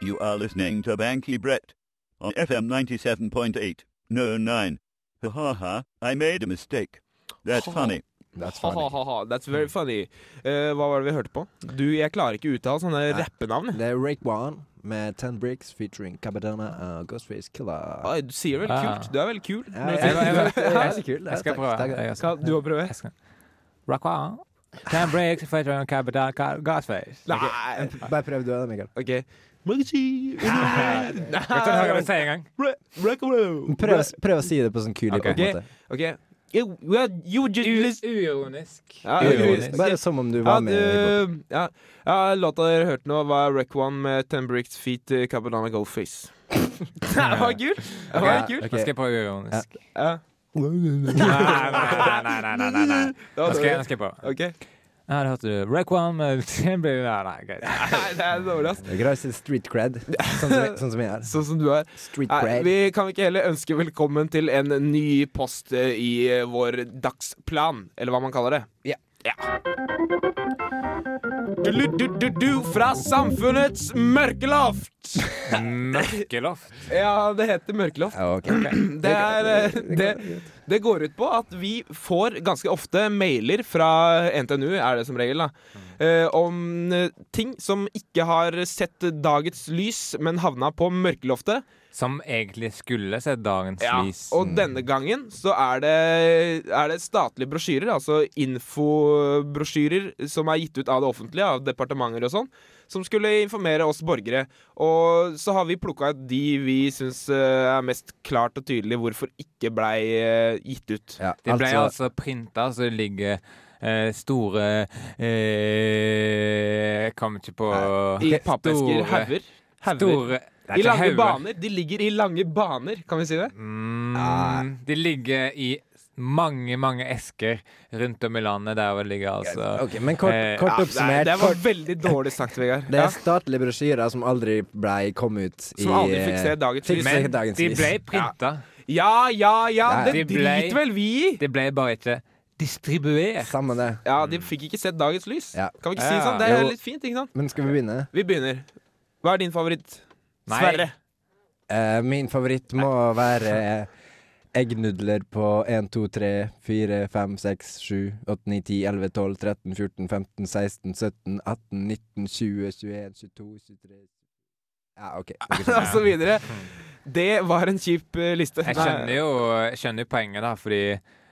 Speaker 14: You are listening to Banky Brett on FM 97.8. No, 9. Ha ha ha, I made a mistake. That's funny.
Speaker 2: That's funny.
Speaker 3: Ha-ha-ha, that's very funny. Eh, hva var det vi hørte på? Du, jeg klarer ikke å uttale sånne rappenavn.
Speaker 2: Det er Rake One med Ten Bricks featuring Cabadana og Ghostface Killer.
Speaker 3: Oi, du sier vel
Speaker 7: Ah.
Speaker 3: kult. Du er veldig kul.
Speaker 2: Ja,
Speaker 3: Når du
Speaker 2: jeg- jeg-
Speaker 3: sier-
Speaker 2: jeg- jeg- jeg-
Speaker 7: Jeg skal prøve. Jeg skal-
Speaker 3: Skal du òg prøve?
Speaker 7: Jeg skal- Rock on. Ten breaks, featuring Capital Ga- Gasface.
Speaker 3: Nei.
Speaker 2: Bare prøv du det, Mikael.
Speaker 3: OK. Nei.
Speaker 7: Vet du hva jeg sier en gang?
Speaker 2: Prøv, prøv å si det på sånn kul
Speaker 7: Ok.
Speaker 2: hiphop-måte.
Speaker 3: OK. You, well, you just listen-
Speaker 7: Uironisk.
Speaker 3: Ja,
Speaker 2: Jo, jo,
Speaker 3: uironisk.
Speaker 2: Bare som om du
Speaker 3: Ja,
Speaker 2: var med i hiphop.
Speaker 3: du, ja, ja, låta dere hørte nå, var Rec One med Ten Bricks Feet eh, Cabadana Goldface. det var kul. Det var kul.
Speaker 7: Nå skal jeg prøve uironisk.
Speaker 3: Ja.
Speaker 7: Nei, nei, nei, nei, nei, nei, nei.
Speaker 3: Det var
Speaker 7: Nå skal jeg, nå
Speaker 3: dårlig.
Speaker 7: skal jeg prøve.
Speaker 3: OK.
Speaker 7: Ja, det hørte du. Rack One med Ten Bricks Nei, nei, greit.
Speaker 3: Nei, det er dårlig, ass.
Speaker 2: Jeg kan ha sin street cred, sånn som, sånn som jeg er.
Speaker 3: Sånn som du er.
Speaker 2: Street
Speaker 3: Nei,
Speaker 2: cred.
Speaker 3: vi kan vi ikke heller ønske velkommen til en ny post eh, i eh, vår dagsplan, eller hva man kaller det.
Speaker 2: Ja.
Speaker 3: Du-du-du-du fra samfunnets mørkeloft!
Speaker 7: Mørkeloft.
Speaker 3: Ja, det heter mørkeloft.
Speaker 2: Ja, ok.
Speaker 3: Det, er, eh, det, det går ut på at vi får ganske ofte mailer fra NTNU, er det som regel, da, eh, om eh, ting som ikke har sett dagets lys, men havna på mørkeloftet.
Speaker 7: Som egentlig skulle sett dagens
Speaker 3: Ja,
Speaker 7: lys.
Speaker 2: Mm.
Speaker 3: og denne gangen så er det, er det statlige brosjyrer, altså infobrosjyrer som er gitt ut av det offentlige, av departementer og sånn, som skulle informere oss borgere. Og så har vi plukka ut de vi syns eh, er mest klart og tydelig hvorfor ikke blei eh, gitt ut.
Speaker 2: Ja,
Speaker 7: Det ble
Speaker 2: altså,
Speaker 7: altså, printa, så det ligger eh, store eh, Jeg kom ikke på
Speaker 3: I pappesker.
Speaker 7: Store-
Speaker 3: Hauger. Hauger.
Speaker 7: Store Det er
Speaker 3: I
Speaker 7: ikke
Speaker 3: lange
Speaker 7: hauger.
Speaker 1: Mm,
Speaker 3: baner. De ligger i lange baner, kan vi si det?
Speaker 7: Mm, de ligger i
Speaker 1: mange mange esker rundt om i landet der hvor det ligger. altså.
Speaker 2: Ok, men kort,
Speaker 1: eh,
Speaker 2: kort
Speaker 1: ja,
Speaker 2: oppsummert
Speaker 1: det er- det var-
Speaker 2: kort-
Speaker 3: Veldig dårlig sagt, Vegard.
Speaker 2: Det er statlige brosjyrer som aldri blei kommet ut i
Speaker 3: Som aldri fikk se dagens
Speaker 2: fikk
Speaker 3: lys.
Speaker 2: se
Speaker 3: Men
Speaker 2: dagens
Speaker 3: de
Speaker 2: lys.
Speaker 3: ble
Speaker 1: printa.
Speaker 3: Ja, ja, ja,
Speaker 1: Nei.
Speaker 3: det
Speaker 1: De ble-
Speaker 3: driter vel vi i!
Speaker 1: Det ble bare ikke distribuert.
Speaker 2: Samme det.
Speaker 3: Ja,
Speaker 1: Mm.
Speaker 3: de fikk ikke sett dagens lys.
Speaker 2: Ja.
Speaker 3: Kan vi ikke si det
Speaker 2: Ja.
Speaker 3: sånn? Det er
Speaker 2: Jo.
Speaker 3: litt fint, ikke sant?
Speaker 2: Men skal vi begynne?
Speaker 3: Vi begynner. Hva er din favoritt?
Speaker 2: Nei.
Speaker 3: Sverre.
Speaker 2: Eh, min favoritt må være eh, eggnudler på 1, 2, 3, 4, 5, 6, 7, 8, 9, 10, 11, 12, 13, 14, 15, 16, 17, 18, 19, 20, 21, 22, 23 Ja, OK. Dere skjønner.
Speaker 3: Og så videre. Det var en kjip eh, liste.
Speaker 1: Jeg skjønner jo jeg skjønner jo poenget, da, fordi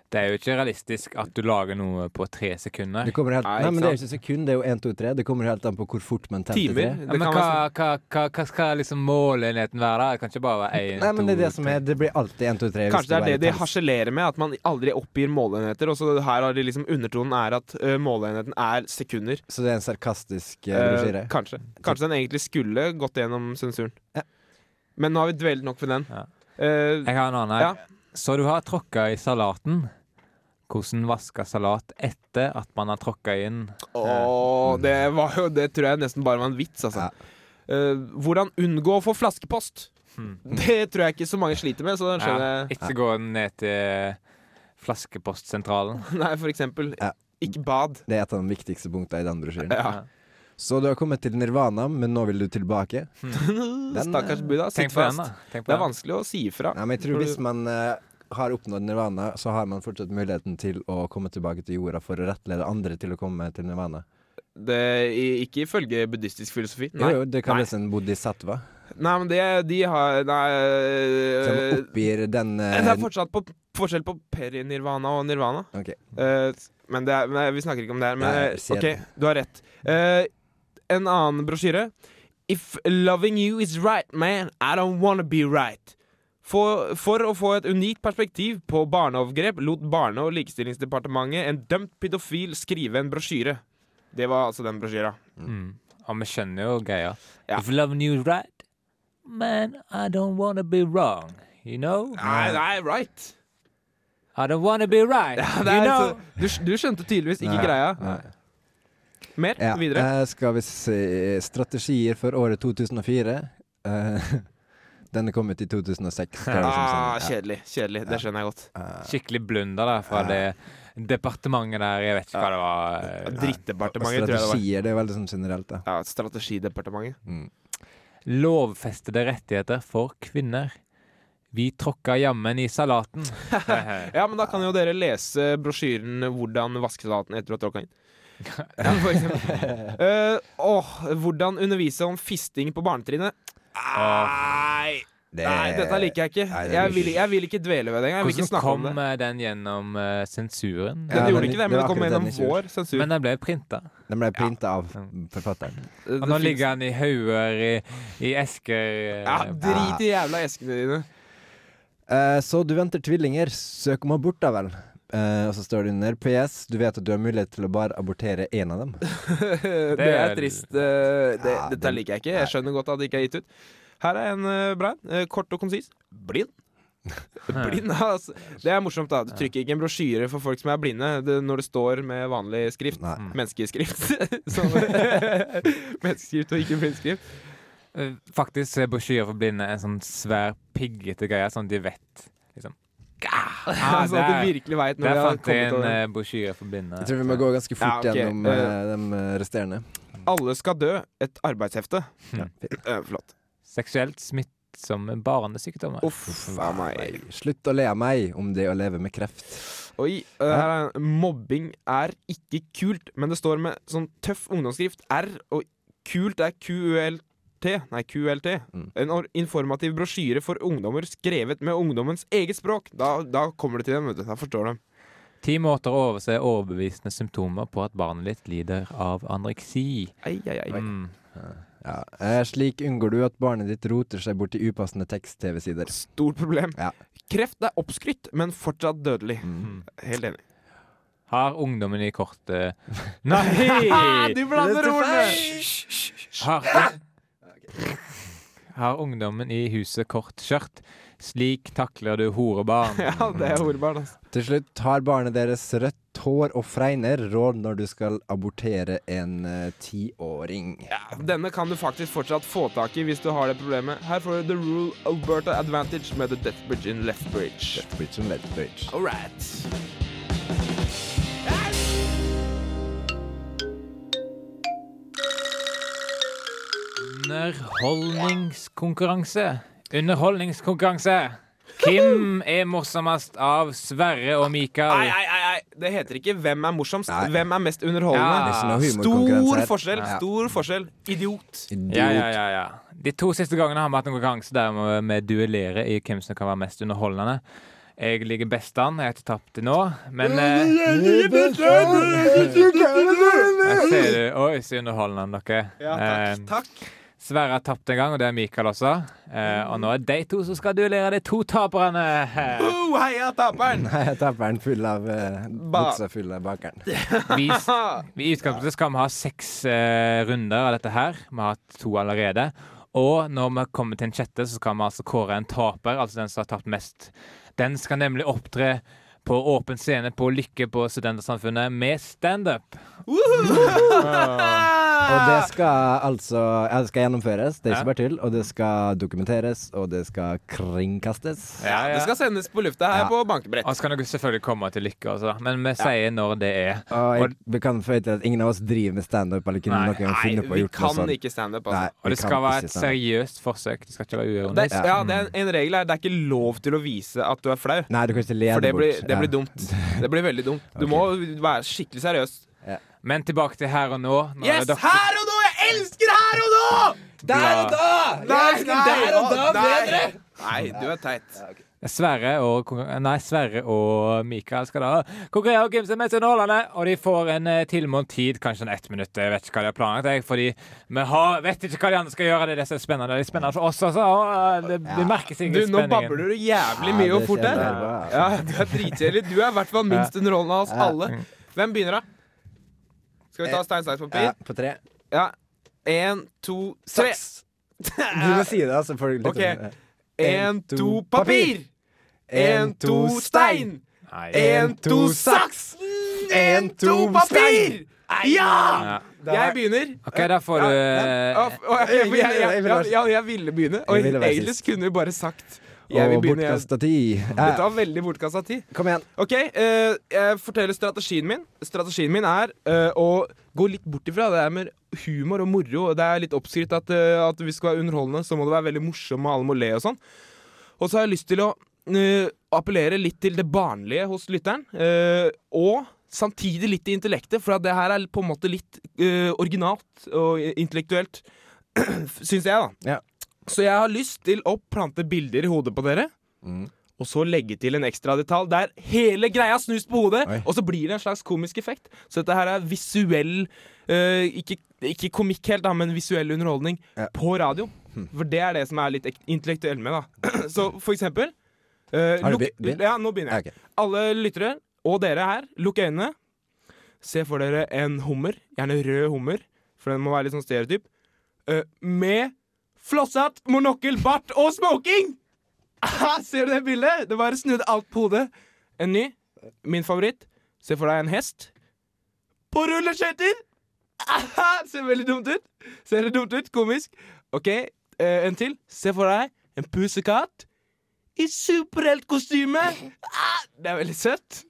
Speaker 1: det er jo ikke realistisk at du lager noe på tre sekunder.
Speaker 2: Det kommer helt,
Speaker 1: Nei,
Speaker 2: nei, men det er jo
Speaker 1: ikke
Speaker 2: ikke sekund, det er jo 1, 2, 3. Det kommer helt an på hvor fort man tente
Speaker 1: Timer?
Speaker 2: tre.
Speaker 1: Ja, men hva,
Speaker 3: sånn-
Speaker 1: hva, hva, hva skal liksom målenheten være? da? Det kan ikke bare være én,
Speaker 2: Nei, men det er det som er Det blir alltid 1, 2, 3.
Speaker 3: Kanskje det er det de harselerer med, at man aldri oppgir måleenheter. Og så her har de liksom undertonen er at eh, måleenheten er sekunder.
Speaker 2: Så det er en sarkastisk eh,
Speaker 3: Eh,
Speaker 2: brosjyre?
Speaker 3: kanskje. Kanskje den egentlig skulle gått gjennom sensuren. Men nå har vi dvelt nok ved den. Eh,
Speaker 1: Jeg har en annen her. Så du har tråkka i salaten. Hvordan vaske salat etter at man har tråkka inn.
Speaker 3: Åh, det var jo Det tror jeg nesten bare var en vits, altså. Eh, hvordan unngå å få flaskepost?
Speaker 1: Hmm.
Speaker 3: Det tror jeg ikke så mange sliter med, så den skjønner
Speaker 1: Ja,
Speaker 3: jeg.
Speaker 1: ikke gå ned til flaskepostsentralen.
Speaker 3: Nei, for eksempel. Ikke bad.
Speaker 2: Det er et av de viktigste punktene i den brosjyren.
Speaker 1: Ja.
Speaker 2: Så du har kommet til nirvana, men nå vil du tilbake? Den,
Speaker 3: Hmm. Stakkars Buddha.
Speaker 1: eh,
Speaker 3: Sitt
Speaker 1: Tenk på den,
Speaker 3: fast.
Speaker 1: da. Tenk på
Speaker 3: Det er
Speaker 1: den.
Speaker 3: vanskelig å si ifra.
Speaker 2: Ja, men jeg tror
Speaker 3: Når du-
Speaker 2: hvis man eh, har oppnådd nirvana, så har man fortsatt muligheten til å komme tilbake til jorda for å rettlede andre til å komme til nirvana.
Speaker 3: det, i- Ikke ifølge buddhistisk filosofi.
Speaker 2: Jo, jo, det
Speaker 3: Nei.
Speaker 2: kalles en bodhisattva.
Speaker 3: Nei, men det de har Nei
Speaker 2: Som
Speaker 3: øh,
Speaker 2: oppgir den eh,
Speaker 3: Det er fortsatt på, forskjell på perinirvana og nirvana.
Speaker 2: Ok.
Speaker 3: Eh, men, det er, men vi snakker ikke om det her. Men
Speaker 2: Nei,
Speaker 3: eh,
Speaker 2: si
Speaker 3: OK,
Speaker 2: det.
Speaker 3: du har rett. Eh, en annen brosjyre. If loving you is right, man, I don't wanna be right. For, for å få et unikt perspektiv på barneovergrep lot Barne- og likestillingsdepartementet en dømt pedofil skrive en brosjyre. Det var altså den brosjyra.
Speaker 1: Mm. Og vi skjønner jo greia.
Speaker 3: Ja.
Speaker 1: If love knew right, man, I don't wanna be wrong. You know?
Speaker 3: Nei, nei, right.
Speaker 1: I don't wanna be right.
Speaker 3: Ja, det
Speaker 1: you
Speaker 3: er,
Speaker 1: know?
Speaker 3: altså- du, du skjønte tydeligvis ikke
Speaker 2: Nei,
Speaker 3: greia.
Speaker 2: nei.
Speaker 3: Mer?
Speaker 2: Ja,
Speaker 3: Videre?
Speaker 2: eh, skal vi se Strategier for året 2004. Eh, den er kommet i 2006. skal jeg liksom
Speaker 3: Ah,
Speaker 2: si. Ja.
Speaker 3: kjedelig. kjedelig, Det skjønner jeg godt.
Speaker 1: Skikkelig blunder der fra det departementet der. Jeg vet ikke hva det var.
Speaker 3: Drittdepartementet,
Speaker 2: altså,
Speaker 3: tror jeg det var.
Speaker 2: Strategier det er veldig sånn generelt, da. Mm.
Speaker 3: Ja, Strategidepartementet.
Speaker 1: Lovfestede rettigheter for kvinner. Vi tråkka jammen i salaten.
Speaker 3: Ja, men da kan jo dere lese brosjyren 'Hvordan vaske salaten etter å ha tråkka inn'. Ja, for eksempel. Eh, åh, 'Hvordan undervise om fisting på barnetrinnet'. Nei, nei, dette liker jeg ikke.
Speaker 1: det
Speaker 3: jeg,
Speaker 1: liker
Speaker 3: vil,
Speaker 1: jeg ikke.
Speaker 3: jeg vil ikke dvele ved det engang. Jeg vil ikke
Speaker 1: Hvordan
Speaker 3: snakke om
Speaker 1: kom
Speaker 3: det.
Speaker 1: eh, den gjennom eh, sensuren?
Speaker 3: Den Ja, gjorde den- ikke det, men det den kom akkurat den gjennom ikke vår gjort. sensur.
Speaker 1: Men den ble printa.
Speaker 2: Den ble printa av forfatteren.
Speaker 1: Og nå ligger den i hauger i, i esker eh,
Speaker 3: Ja, Drit i jævla eskene dine.
Speaker 2: Eh, så du venter tvillinger, søk om abort da vel. Eh, og så står det under PS, du vet at du har mulighet til å bare abortere én av dem.
Speaker 3: det,
Speaker 2: er-
Speaker 3: er trist. eh, Det, dette liker jeg ikke. Jeg skjønner godt at det ikke er gitt ut. Her er en, eh, Brian. eh, Kort og konsis. Blind. Blind, altså. Det er morsomt, da. Du trykker ikke en brosjyre for folk som er blinde, det, når det står med vanlig skrift.
Speaker 1: Mm.
Speaker 3: Menneskeskrift. Sånn. Menneskeskrift og ikke blindskrift.
Speaker 1: Eh, Faktisk er brosjyre for blinde en sånn svær, piggete greie, sånn at de vet liksom Ah,
Speaker 3: Ja, sånn at du virkelig vet når
Speaker 1: Der
Speaker 3: det har
Speaker 1: fant jeg
Speaker 3: kommet
Speaker 1: en
Speaker 3: over.
Speaker 1: eh, brosjyre for blinde.
Speaker 2: Jeg tror vi må gå ganske fort
Speaker 1: Ja, ok.
Speaker 2: gjennom
Speaker 1: Eh,
Speaker 2: eh, de resterende.
Speaker 3: Alle skal dø. Et arbeidshefte. Eh, Flott.
Speaker 1: Seksuelt smittsomme barnesykdommer.
Speaker 3: Uff a meg.
Speaker 2: Slutt å le av meg om det å leve med kreft.
Speaker 3: Oi, eh, her er en, mobbing er ikke kult, men det står med sånn tøff ungdomsskrift R, og kult er QLT. Nei, QLT. En or- informativ brosjyre for ungdommer skrevet med ungdommens eget språk. Da, da kommer det til dem, vet du. Da forstår de.
Speaker 1: Ti måter å overse overbevisende symptomer på at barnet ditt lider av anoreksi.
Speaker 3: Ei, ei, ei.
Speaker 1: Mm.
Speaker 2: Ja. Eh, slik unngår du at barnet ditt roter seg bort i upassende tekst-TV-sider.
Speaker 3: Stort problem.
Speaker 2: Ja.
Speaker 3: Kreft er oppskrytt, men fortsatt dødelig.
Speaker 1: Mm.
Speaker 3: Helt enig.
Speaker 1: Har ungdommen i kortet Nei!
Speaker 3: Nei, Ah, du blander
Speaker 1: Dette
Speaker 3: ordene!
Speaker 1: feil. Har, har ungdommen i huset kort skjørt, 'Slik takler du horebarn'.
Speaker 3: Ja, det er horebarn, altså.
Speaker 2: Til slutt har barnet deres rødt hår og fregner råd når du skal abortere en eh, tiåring.
Speaker 3: Denne kan du faktisk fortsatt få tak i hvis du har det problemet. Her får du The Rule Alberta Advantage med The Death Bridge in Left Bridge.
Speaker 2: Death Bridge in Left Bridge.
Speaker 3: All right.
Speaker 1: Underholdningskonkurranse. Underholdningskonkurranse. Hvem er morsommest av Sverre og
Speaker 3: Nei,
Speaker 1: Mikael?
Speaker 3: nei, nei, nei. Det heter ikke 'Hvem er morsomst', 'Hvem er mest underholdende'.
Speaker 1: Ja. Det er ikke noe humorkonkurranse
Speaker 3: Stor
Speaker 1: her.
Speaker 3: forskjell.
Speaker 1: Ja.
Speaker 3: Stor forskjell. Idiot.
Speaker 1: Ja, ja, ja, ja. De to siste gangene har vi hatt en konkurranse der vi- vi duellerer i hvem som kan være mest underholdende. Jeg ligger best an. Jeg har ikke tapt til nå, men eh, Jeg ser du. Oi, så underholdende dere.
Speaker 3: Ja,
Speaker 1: takk, Sverre har tapt en gang, og det er Mikael også. Eh, og nå er de to som skal duellere, de to taperne.
Speaker 3: Oh, heia taperen!
Speaker 2: Nei, jeg tapper den full av eh,
Speaker 1: Ba-
Speaker 2: buksa full av bakeren.
Speaker 1: Vi, vi I utgangspunktet skal vi ha seks eh, runder av dette her. Vi har hatt to allerede. Og når vi kommer til en sjette, så skal vi altså kåre en taper, altså den som har tapt mest. Den skal nemlig opptre på åpen scene på Lykke på Studentersamfunnet med standup.
Speaker 2: Og det skal altså ja, det skal gjennomføres, det er
Speaker 1: Ja.
Speaker 2: ikke bare tull. Og det skal dokumenteres, og det skal kringkastes.
Speaker 1: Ja,
Speaker 3: Det skal sendes på lufta her
Speaker 2: Ja.
Speaker 3: på bankebrett.
Speaker 1: Og så kan dere selvfølgelig komme til Lykke også, men vi sier når det er.
Speaker 2: Og jeg, vi kan føye til at ingen av oss driver med standup. Eller kunne
Speaker 1: Nei.
Speaker 2: noen gang finne på å
Speaker 3: vi
Speaker 2: gjort noe
Speaker 3: kan
Speaker 2: sånt.
Speaker 3: ikke standup, altså.
Speaker 2: Nei,
Speaker 1: Og
Speaker 2: vi
Speaker 1: det skal
Speaker 2: kan
Speaker 1: være
Speaker 2: ikke sånn.
Speaker 1: et
Speaker 2: standup.
Speaker 1: seriøst forsøk. Det skal ikke være
Speaker 3: Det
Speaker 1: uironisk.
Speaker 3: er, ja, det er en, en regel her. Det er ikke lov til å vise at du er flau.
Speaker 2: Nei, du kan ikke le
Speaker 3: For det
Speaker 2: det
Speaker 3: blir,
Speaker 2: bort.
Speaker 3: det blir
Speaker 2: Ja.
Speaker 3: dumt. Det blir veldig dumt. Du må være skikkelig seriøs.
Speaker 1: Men tilbake til her og nå. Når
Speaker 3: Yes!
Speaker 1: det er dere-
Speaker 3: Her og nå! Jeg elsker her og nå!
Speaker 1: Der og da!
Speaker 3: Nei,
Speaker 4: elsker
Speaker 3: nei,
Speaker 4: der og da
Speaker 3: nei.
Speaker 4: bedre.
Speaker 3: Nei, du er teit.
Speaker 1: Sverre og, konkur- nei, Sverre og Mikael skal da konkurrere om hvem som er mest underholdende. Og de får en eh, tilmålt tid, kanskje en ett minutt. Jeg vet ikke hva de har planlagt. Jeg, fordi vi har, vet ikke hva de andre skal gjøre. Det er det som er spennende. Det er spennende for oss også. Og, eh, det, det merker seg i
Speaker 3: Du, nå
Speaker 1: spenningen.
Speaker 3: babler du jævlig mye og fort her. Ja, du er dritkjedelig. Du er i hvert fall minst underholdende av oss alle. Hvem begynner, da? Skal vi ta stein, saks, papir?
Speaker 2: Ja, på tre.
Speaker 3: Ja. Én, to, tre.
Speaker 2: Du må si det, altså. For litt
Speaker 3: Ok.
Speaker 2: sånn, eh,
Speaker 3: Én, to, papir! Én, to, stein!
Speaker 1: Nei.
Speaker 3: Én, to, saks! Én, to, papir! Ja!
Speaker 1: Ja.
Speaker 3: Jeg begynner.
Speaker 1: OK, da får du eh,
Speaker 3: Å, å, Ah, jeg, jeg, jeg, jeg, jeg, jeg, jeg ville begynne, og
Speaker 2: Jeg ville være
Speaker 3: egentlig
Speaker 2: sist.
Speaker 3: kunne vi bare sagt jeg vil
Speaker 2: Og
Speaker 3: begynne. Jeg,
Speaker 2: bortkasta tid.
Speaker 3: dette var veldig bortkasta tid.
Speaker 2: Kom igjen.
Speaker 3: Ok, eh, Jeg forteller strategien min. Strategien min er eh, å gå litt bort ifra det her med humor og moro. og Det er litt oppskrytt at, eh, at vi skal være underholdende, så må det være veldig morsomt, og alle må le og sånn. Og så har jeg lyst til å eh, appellere litt til det barnlige hos lytteren. eh, og samtidig litt til intellektet, for at det her er på en måte litt eh, originalt og intellektuelt. Syns jeg, da. Så jeg har lyst til å plante bilder i hodet på dere.
Speaker 2: Mm.
Speaker 3: Og så legge til en ekstra detalj der hele greia snus på hodet, og så blir det en slags komisk effekt. Så dette her er visuell eh, ikke, ikke komikk helt, da, men visuell underholdning på radio.
Speaker 2: Hm.
Speaker 3: For det er det som er litt ek- intellektuell med, da. så for eksempel eh,
Speaker 2: Har du
Speaker 3: lukk-
Speaker 2: be- begynt?
Speaker 3: Ja, nå begynner jeg. Alle lyttere, og dere her, lukk øynene. Se for dere en hummer, gjerne rød hummer, for den må være litt sånn stereotyp. eh, med flosshatt, monokkel, bart og smoking! Ah, Ser du det bildet? Det bare snudde alt på hodet. En ny. Min favoritt. Se for deg en hest. På rulleskøyter! Ah, Ser veldig dumt ut. Ser det dumt ut? Komisk. OK, eh, en til. Se for deg en pusekatt i superheltkostyme. Ah, det er veldig søtt.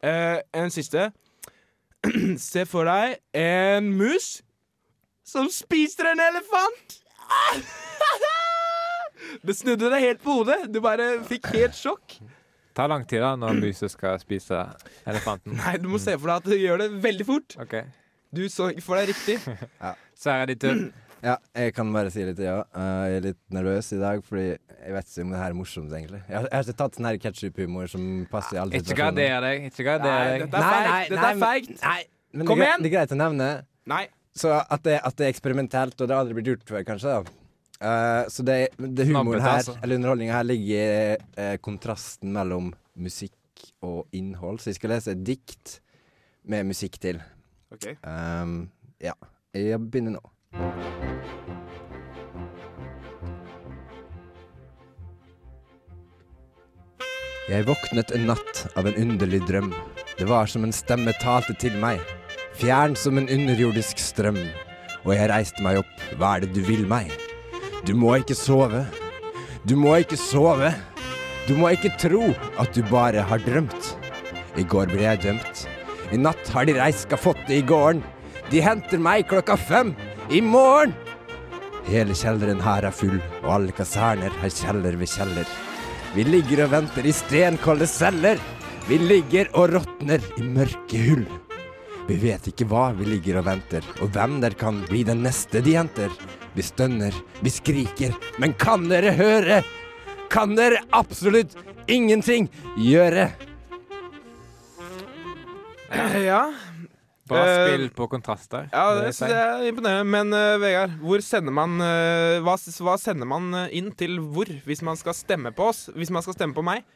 Speaker 3: Eh, en siste. Se for deg en mus som spiser en elefant. Det snudde deg helt på hodet. Du bare fikk helt sjokk.
Speaker 1: Ta lang tid da når muset skal spise elefanten.
Speaker 3: Nei, du må se for deg at du gjør det veldig fort.
Speaker 1: Ok.
Speaker 3: Du så ikke for deg riktig.
Speaker 1: Sverre, ditt
Speaker 3: Mm.
Speaker 1: tur.
Speaker 2: Ja, jeg kan bare si litt, ja. Eh, Jeg er litt nervøs i dag, fordi jeg vet ikke om det her er morsomt, egentlig. Jeg har, jeg har ikke tatt sånn her ketsjup-humor som passer i alle
Speaker 1: Ikke
Speaker 2: situasjoner.
Speaker 1: garder deg. Ikke garder
Speaker 2: Nei,
Speaker 1: deg.
Speaker 2: dette er Nei, feigt. nei, Dette er nei, men-
Speaker 3: feigt.
Speaker 2: Men
Speaker 1: Kom
Speaker 2: det, er gre-
Speaker 1: igjen!
Speaker 2: Det er greit å nevne.
Speaker 3: Nei.
Speaker 2: Så at det, at det er eksperimentelt, og det har aldri blitt gjort før, kanskje. da. Eh, så det, det
Speaker 1: Snabbete,
Speaker 2: humoren her,
Speaker 1: altså.
Speaker 2: eller underholdninga her, ligger i eh, kontrasten mellom musikk og innhold. Så jeg skal lese et dikt med musikk til.
Speaker 3: Ok.
Speaker 2: Ehm, ja. Jeg begynner nå. Jeg våknet en natt av en underlig drøm. Det var som en stemme talte til meg, fjern som en underjordisk strøm. Og jeg reiste meg opp, hva er det du vil meg? Du må ikke sove. Du må ikke sove. Du må ikke tro at du bare har drømt. I går ble jeg dømt. I natt har de reist skafottet i gården. De henter meg klokka fem i morgen. Hele kjelleren her er full, og alle kaserner har kjeller ved kjeller. Vi ligger og venter i stenkolde celler. Vi ligger og råtner i mørke hull. Vi vet ikke hva vi ligger og venter, og hvem der kan bli den neste de henter. Vi stønner, vi skriker, men kan dere høre? Kan dere absolutt ingenting gjøre?
Speaker 3: Ja.
Speaker 1: Bra
Speaker 3: Eh,
Speaker 1: spill på kontraster.
Speaker 3: Ja, det
Speaker 1: si.
Speaker 3: synes jeg er imponerende. Men eh, Vegard, hvor sender man eh, hva, s- hva sender man eh, inn til hvor hvis man skal stemme på oss? Hvis man skal stemme på meg?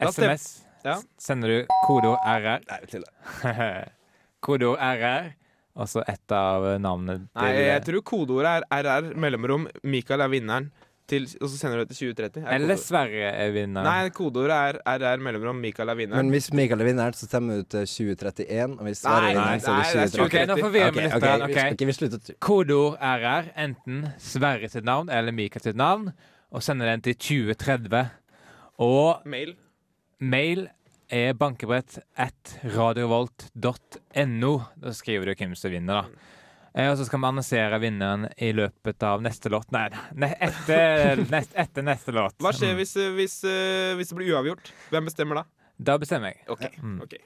Speaker 3: Da stem-
Speaker 1: SMS.
Speaker 3: Ja.
Speaker 1: Sender du kodeord RR
Speaker 2: Nei, til
Speaker 1: Kodeord RR, og så ett av navnene til eh,
Speaker 3: Nei, jeg tror kodeordet er RR mellomrom Mikael er vinneren, til, og så sender du det til 2030. Er
Speaker 1: Eller
Speaker 3: kodeordet.
Speaker 1: Sverre er vinneren.
Speaker 3: Nei, kodeordet er RR mellomrom Mikael er vinneren.
Speaker 2: Men hvis Mikael er vinneren, så stemmer du til 2031. Og hvis Sverre
Speaker 3: Nei,
Speaker 2: er vinneren, så
Speaker 3: nei,
Speaker 2: er
Speaker 3: det er
Speaker 2: det 2030.
Speaker 3: 2030.
Speaker 1: Ok, nå forvirrer vi
Speaker 2: Ok,
Speaker 1: litt.
Speaker 2: ok,
Speaker 1: her,
Speaker 2: vi-
Speaker 1: ok.
Speaker 2: ok, vi slutter.
Speaker 1: Kodeord RR, enten Sverre sitt navn eller Mikael sitt navn, og sender den til 2030. Og
Speaker 3: Mail.
Speaker 1: mail er bankebrett at radiovolt.no. Da skriver du hvem som vinner, da. Eh, Og så skal vi annonsere vinneren i løpet av neste låt. Nei, ne etter, nest, etter neste låt.
Speaker 3: Hva skjer
Speaker 1: Mm.
Speaker 3: hvis, eh, hvis, eh, hvis det blir uavgjort? Hvem bestemmer da?
Speaker 1: Da bestemmer jeg.
Speaker 3: Ok,
Speaker 1: Mm.
Speaker 3: ok.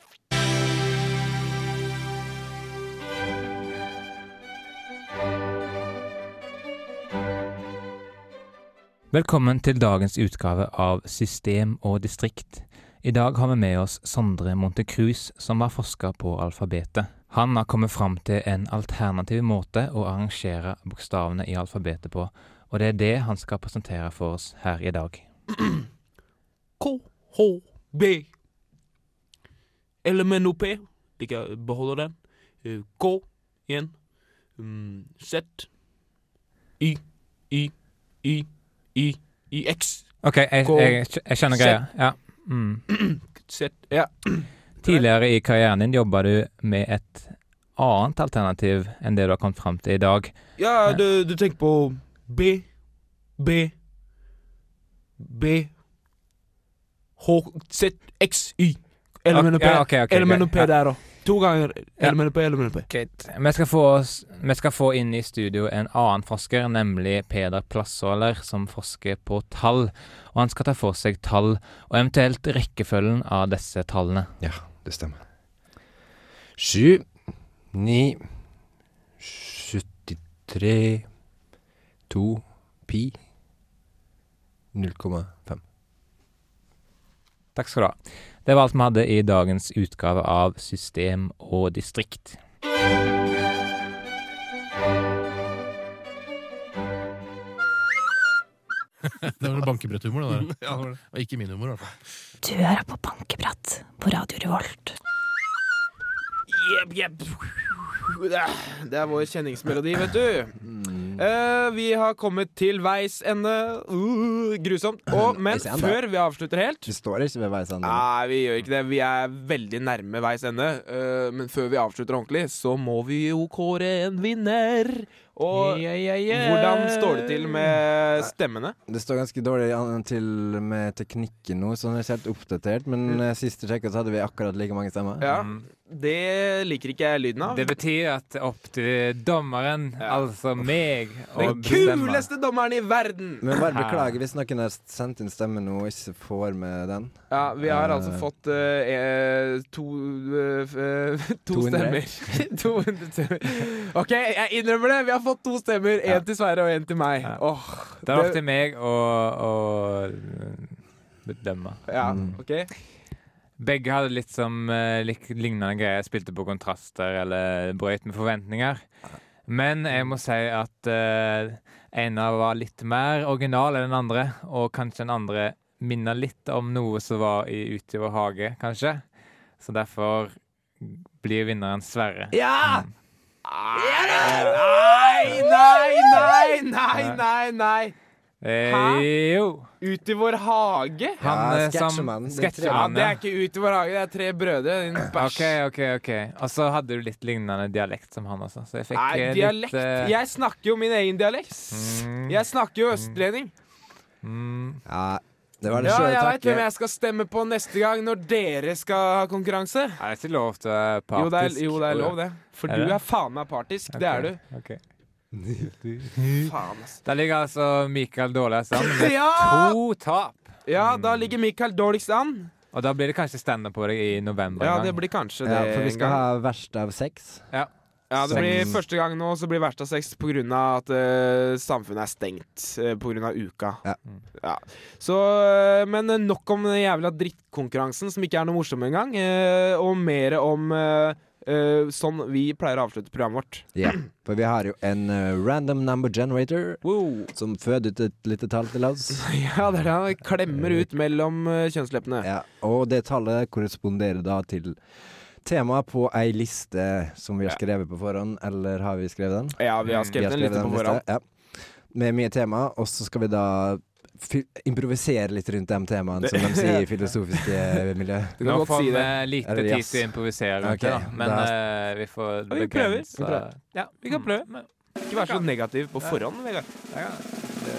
Speaker 1: Velkommen til dagens utgave av System og distrikt. I dag har vi med oss Sondre Montecruz, som har forska på alfabetet. Han har kommet fram til en alternativ måte å arrangere bokstavene i alfabetet på, og det er det han skal presentere for oss her i dag.
Speaker 11: KHB. LMNOP. Ligger beholder den. Eh, K igjen. Mm, Z. Y. Y. Y. Y. Y. X.
Speaker 1: OK, jeg, jeg, jeg skjønner greia. Ja. Mm.
Speaker 11: Z. Ja.
Speaker 1: Tidligere i karrieren din jobba du med et annet alternativ enn det du har kommet fram til i dag.
Speaker 11: Ja, du, du tenker på B, B, B, H, Z, X, Y. LMNOP.
Speaker 1: Ok, ja, ok, ok,
Speaker 11: LMNOP
Speaker 1: greit.
Speaker 11: der, da. To ganger
Speaker 1: Ja.
Speaker 11: LMNOP, LMNOP.
Speaker 1: Greit. Vi skal, få oss, vi skal få inn i studio en annen forsker, nemlig Peder Plassåler, som forsker på tall. Og han skal ta for seg tall, og eventuelt rekkefølgen av disse tallene.
Speaker 2: Ja, det stemmer. Sju, ni, 73, to, pi, 0,5.
Speaker 1: Takk skal du ha. Det var alt vi hadde i dagens utgave av System og distrikt.
Speaker 15: Det var bankebretthumor, det der.
Speaker 12: Ja, det var det.
Speaker 15: Og ikke min humor, i hvert fall.
Speaker 12: Du hører på Bankeprat på Radio Revolt.
Speaker 3: Jep, jep. Det er vår kjenningsmelodi, vet du.
Speaker 2: Mm.
Speaker 3: Eh, vi har kommet til veis ende. Uh, grusomt. Og, men
Speaker 2: Mm, Veis ende. Mm.
Speaker 3: før vi avslutter helt
Speaker 2: Vi står ikke ved veis ende.
Speaker 3: Nei, vi gjør ikke det. Vi er veldig nærme veis ende. Eh, men før vi avslutter ordentlig, så må vi jo kåre en vinner. Og hvordan står det til med stemmene?
Speaker 2: Det står ganske dårlig an til med teknikken nå, så den er ikke helt oppdatert. Men eh, sist jeg sjekket, så hadde vi akkurat like mange stemmer.
Speaker 3: Mm. Ja, Mm. Det liker ikke jeg lyden av.
Speaker 1: Mm. Det betyr at det er opp til dommeren, altså meg, å
Speaker 3: Den
Speaker 1: bestemme.
Speaker 3: kuleste dommeren i verden!
Speaker 2: Men bare beklager hvis noen har sendt inn stemme nå og ikke får med den.
Speaker 3: Ja, vi har
Speaker 2: Eh,
Speaker 3: altså fått eh, eh, to, eh, f- eh, to
Speaker 2: 200.
Speaker 3: stemmer. 200 stemmer. OK, jeg innrømmer det. Vi har fått to stemmer. Én til Sverre og én til meg. Åh,
Speaker 1: Det er opp til meg å, å bedømme.
Speaker 3: Ja, ok
Speaker 1: Begge hadde litt som eh, lik, lignende greier. Spilte på kontraster eller brøyt med forventninger. Men jeg må si at eh, ene var litt mer original enn den andre, og kanskje den andre minner litt om noe som var i Ute i vår hage, kanskje. Så derfor blir vinneren Sverre.
Speaker 3: Ja! Ah, Nei, nei, nei, nei, nei! nei.
Speaker 1: Eh, jo.
Speaker 3: Ut i vår hage?
Speaker 1: Han, eh, som- sketsjemannen,
Speaker 3: Ja,
Speaker 1: ja.
Speaker 3: det er ikke Ut i vår hage, det er Tre brødre. Din bæsj.
Speaker 1: OK, OK. ok Og så hadde du litt lignende dialekt som han også. Så jeg fikk
Speaker 3: Nei,
Speaker 1: eh,
Speaker 3: dialekt
Speaker 1: litt eh, Mm.
Speaker 3: Jeg snakker jo min egen dialekt. Jeg snakker jo østlending.
Speaker 2: Ja, det var det
Speaker 3: ja,
Speaker 2: sjøle
Speaker 3: jeg veit
Speaker 2: takke.
Speaker 3: hvem jeg skal stemme på neste gang, når dere skal ha konkurranse.
Speaker 1: Nei, det er ikke lov til eh,
Speaker 3: Jo det, er,
Speaker 1: partisk.
Speaker 3: jo, det er lov, det. For
Speaker 1: Er
Speaker 3: du
Speaker 1: det?
Speaker 3: er faen meg partisk. Det er du.
Speaker 1: Ok.
Speaker 3: Faen, ass.
Speaker 1: Der ligger altså Mikael dårlig an med
Speaker 3: Ja!
Speaker 1: to tap.
Speaker 3: Ja, da ligger Mikael dårligst an.
Speaker 1: Og da blir det kanskje standup på deg i november.
Speaker 3: Ja,
Speaker 1: en gang.
Speaker 3: det blir kanskje det
Speaker 2: Ja, for vi
Speaker 3: en
Speaker 2: skal
Speaker 3: gang.
Speaker 2: ha verst av seks.
Speaker 1: Ja.
Speaker 3: Ja, det blir
Speaker 2: Seks.
Speaker 3: første gang nå, så blir verst av seks pga. at eh, samfunnet er stengt eh, på grunn pga. uka.
Speaker 2: Ja.
Speaker 3: Så, eh, men eh, nok om den jævla drittkonkurransen, som ikke er noe morsom engang. eh, og mer om eh, eh, sånn vi pleier å avslutte programmet vårt.
Speaker 2: Ja, for vi har jo en eh, random number generator som føder ut et lite tall til oss.
Speaker 3: ja, det er det han klemmer ut mellom eh, kjønnsleppene.
Speaker 2: Ja, og det tallet korresponderer da til temaet på ei liste som vi har skrevet på forhånd, eller har vi skrevet den?
Speaker 3: Ja, Mm, vi har skrevet en liste på forhånd.
Speaker 2: Ja. Med mye tema, og så skal vi da fy- improvisere litt rundt de temaene som de sier i filosofiske miljø.
Speaker 1: Nå får vi lite
Speaker 2: Eller
Speaker 1: tid
Speaker 2: jazz.
Speaker 1: til å improvisere rundt
Speaker 2: Ok,
Speaker 1: det, da. Men
Speaker 2: da-
Speaker 1: eh, vi får
Speaker 3: Ja, vi prøver.
Speaker 1: begrense- Mm.
Speaker 3: Vi prøver. Ja, vi kan prøve. Ikke vær så negativ på
Speaker 1: Ja.
Speaker 3: forhånd, Vegard.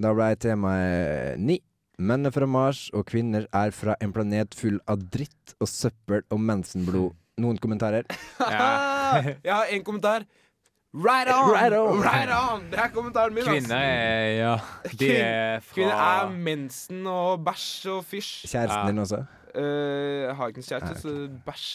Speaker 2: Da ble temaet ni. Menn er fra Mars, og kvinner er fra en planet full av dritt og søppel og mensenblod. Noen kommentarer?
Speaker 3: Jeg har en kommentar. Right on!
Speaker 2: Right on.
Speaker 3: Det er kommentaren min. ass.
Speaker 1: Kvinner er Ja, de er fra
Speaker 3: Kvinner er mensen og bæsj og fysj.
Speaker 2: Kjæresten din også?
Speaker 3: Eh, jeg har ikke en kjæreste,
Speaker 2: Ah,
Speaker 3: så bæsj.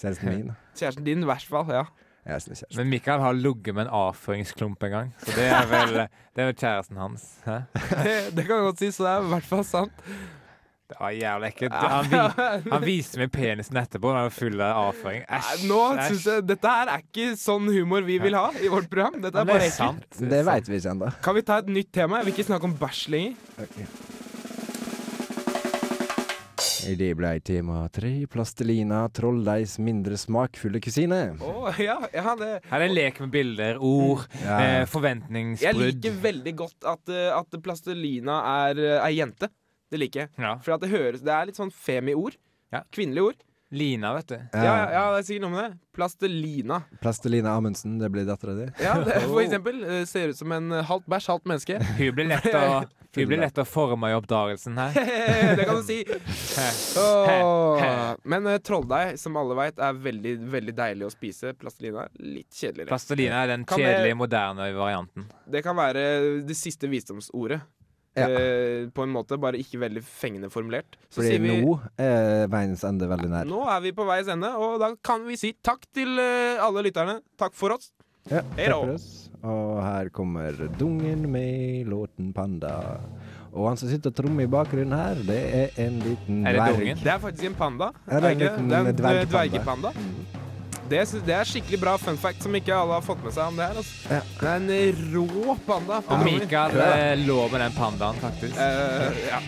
Speaker 2: Kjæresten min?
Speaker 3: Kjæresten din, i hvert fall. Ja.
Speaker 2: Jeg er snill kjæreste.
Speaker 1: Men Mikael har ligget med en avføringsklump en gang, så det er vel, det er vel kjæresten hans. Hæ?
Speaker 3: Det, det kan jeg godt si, så det er i hvert fall sant.
Speaker 1: Det var jævlig ekkelt. Han, vi, han viste meg penisen etterpå, den var full av avføring. Æsj.
Speaker 3: Nei, Nå
Speaker 1: æsj.
Speaker 3: synes jeg Dette her er ikke sånn humor vi vil ha i vårt program. Dette
Speaker 1: Men det er
Speaker 3: er bare ekkelt.
Speaker 1: sant.
Speaker 2: Det veit vi ikke ennå.
Speaker 3: Kan vi ta et nytt tema? Jeg vil ikke snakke om bæsj lenger.
Speaker 2: Det ble tema tre. Plastelina, trolldeigs mindre smakfulle kusine.
Speaker 3: Å, ja, ja, det
Speaker 1: Her er en lek med bilder, ord,
Speaker 2: Ja.
Speaker 1: eh,
Speaker 3: Mm. Jeg
Speaker 1: forventningsbrudd.
Speaker 3: liker veldig godt at, eh, at plastelina er eh, ei jente. Det liker jeg. For at det høres Det er litt sånn femi-ord. Kvinnelige ord.
Speaker 1: Lina, vet du.
Speaker 3: Ja, ja, ja, det er sikkert noe med det. Plastelina.
Speaker 2: Plastelina Amundsen, det blir dattera di.
Speaker 3: Ja, det, for eksempel. eh, Ser ut som en eh, halvt bæsj, halvt menneske.
Speaker 1: Hun blir lett å, hun blir lett å forme i oppdragelsen her.
Speaker 3: det kan du si. Åh. Men uh, trolldeig, som alle veit, er veldig, veldig deilig å spise. Plastelina er litt kjedeligere.
Speaker 1: Plastelina er den
Speaker 3: Kan det-
Speaker 1: kjedelige, moderne varianten.
Speaker 3: Det kan være det siste visdomsordet. Eh, på en måte, bare ikke veldig fengende formulert. Så
Speaker 2: Fordi
Speaker 3: sier vi
Speaker 2: nå er veiens ende veldig nær.
Speaker 3: Nå er vi på veis ende, og da kan vi si takk til eh, alle lytterne. Takk for oss.
Speaker 2: Ja, takk
Speaker 3: Hei da.
Speaker 2: for oss. Og her kommer Dungen med låten 'Panda'. Og han som sitter og trommer i bakgrunnen her, det er en liten dverg.
Speaker 3: Det er faktisk en panda.
Speaker 2: Ja, det er en
Speaker 3: ikke
Speaker 2: liten eh,
Speaker 3: det? det er en
Speaker 2: dvergpanda. Mm.
Speaker 3: dvergepanda. Det, sy- det er skikkelig bra fun fact som ikke alle har fått med seg om det her. Altså.
Speaker 2: Ja.
Speaker 3: Det er en eh, rå panda.
Speaker 1: Og
Speaker 3: på trommer.
Speaker 1: Mikael eh, lå med den pandaen, faktisk.
Speaker 3: Eh, ja.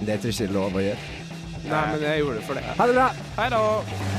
Speaker 2: Det er ikke lov å gjøre.
Speaker 3: Nei, men jeg gjorde det for det.
Speaker 2: Ha det bra!
Speaker 3: Hei da.